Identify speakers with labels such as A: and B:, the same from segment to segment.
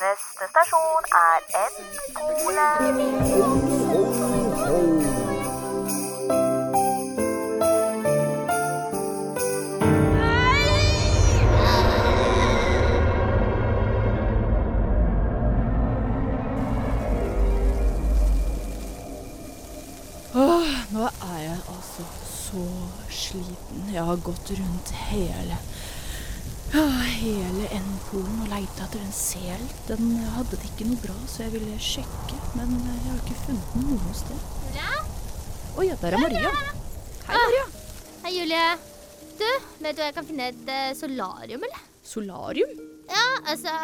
A: Neste stasjon er N-skole.
B: Åh, nå er jeg altså så sliten. Jeg har gått rundt hele ja, hele N-polen og leita etter en sel. Den hadde det ikke noe bra, så jeg ville sjekke, men jeg har ikke funnet den noe sted. Oi, ja, der er Maria. Hei, Maria.
C: Hei, Julie. Du, vet du hva jeg kan finne et eh, solarium, eller?
B: Solarium?
C: Ja, altså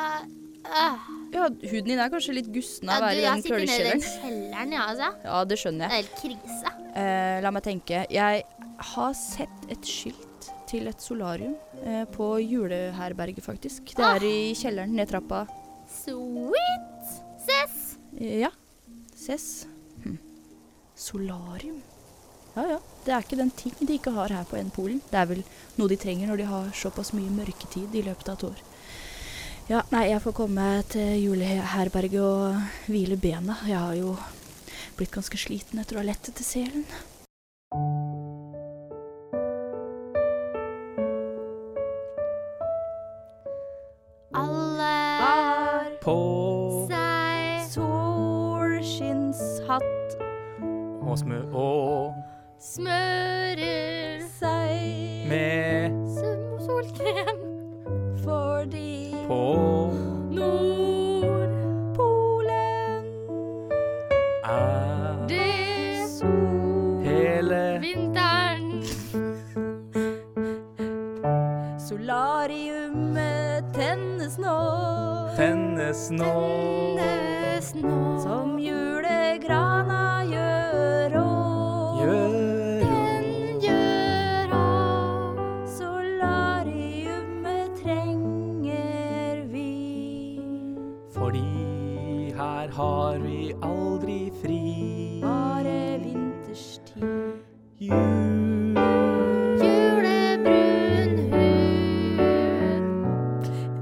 C: øh,
B: Ja, huden din er kanskje litt gusten av å være
C: ja, du,
B: i
C: Jeg
B: den
C: sitter nede i den
B: kølekjelleren.
C: kjelleren, ja, altså.
B: Ja, det skjønner
C: Det
B: jeg.
C: er helt krise.
B: Eh, la meg tenke. Jeg har sett et skilt til et solarium eh, på juleherberget, faktisk.
C: Ah.
B: Det er i kjelleren ned trappa.
C: Sweet! Ses!
B: Ja. Ses. Hm. Solarium. Ja ja, det er ikke den ting de ikke har her på N-polen. Det er vel noe de trenger når de har såpass mye mørketid i løpet av et år. Ja, nei, jeg får komme til juleherberget og hvile bena. Jeg har jo blitt ganske sliten etter å ha lett etter selen.
C: Alle
D: På
C: seg
B: Solskinnshatt
D: og smø og
C: smører
B: seg
D: med
C: som solkrem
B: fordi
D: på
B: Nordpolen
D: er
C: det
D: hele
C: vinteren
B: Solariumet tennes nå
D: tennes nå.
C: snø
B: Som julegrana gjør og
D: Gjør
C: gjør av
B: Solariumet trenger vi
D: fordi her har vi aldri fri.
B: Bare vinterstid
D: Jul.
C: julebrun hud.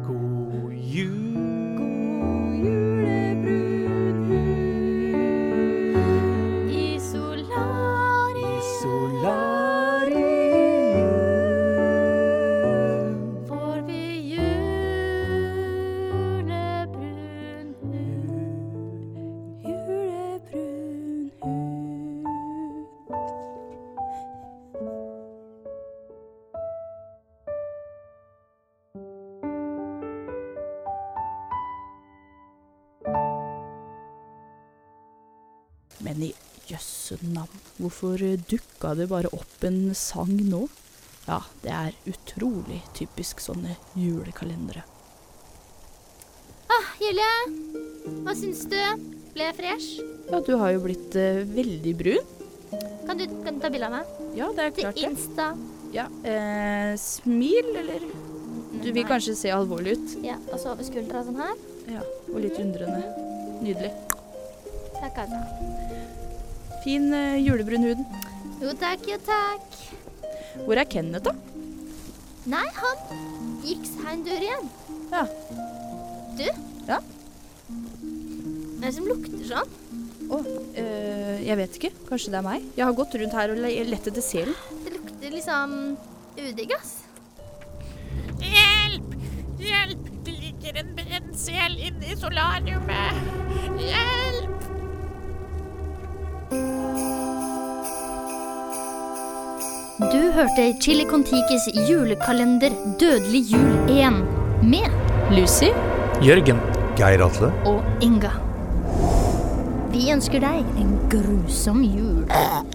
D: God jul.
B: Julebrun
C: I solari
D: I solarium.
C: får vi julebrun hud.
B: Julebrun hud Men i jøsse navn, hvorfor dukka det bare opp en sang nå? Ja, det er utrolig typisk sånne julekalendere.
C: Ah, Julie, hva syns du? Ble jeg fresh?
B: Ja, du har jo blitt eh, veldig brun.
C: Kan du, kan du ta bilde av meg?
B: Ja, det er klart
C: Til
B: det.
C: Insta.
B: Ja, eh, smil, eller Du vil
C: Nei.
B: kanskje se alvorlig ut.
C: Ja, og så over skuldra sånn her.
B: Ja, og litt undrende. Nydelig.
C: Takk, altså.
B: Fin eh, julebrun hud.
C: Jo takk, jo takk.
B: Hvor er Kenneth, da?
C: Nei, han gikk seg en dør igjen.
B: Ja.
C: Du?
B: Ja?
C: Hvem er det som lukter sånn?
B: Å, eh, jeg vet ikke. Kanskje det er meg? Jeg har gått rundt her og le- lett etter selen.
C: Det lukter liksom udigg, ass.
E: Hjelp! Hjelp! Det ligger en brent sel inne i solariumet. Hjelp!
C: Du hørte Chili Contikis julekalender Dødelig jul 1 med Lucy
D: Jørgen.
F: Geir Atle.
C: og Inga. Vi ønsker deg en grusom jul.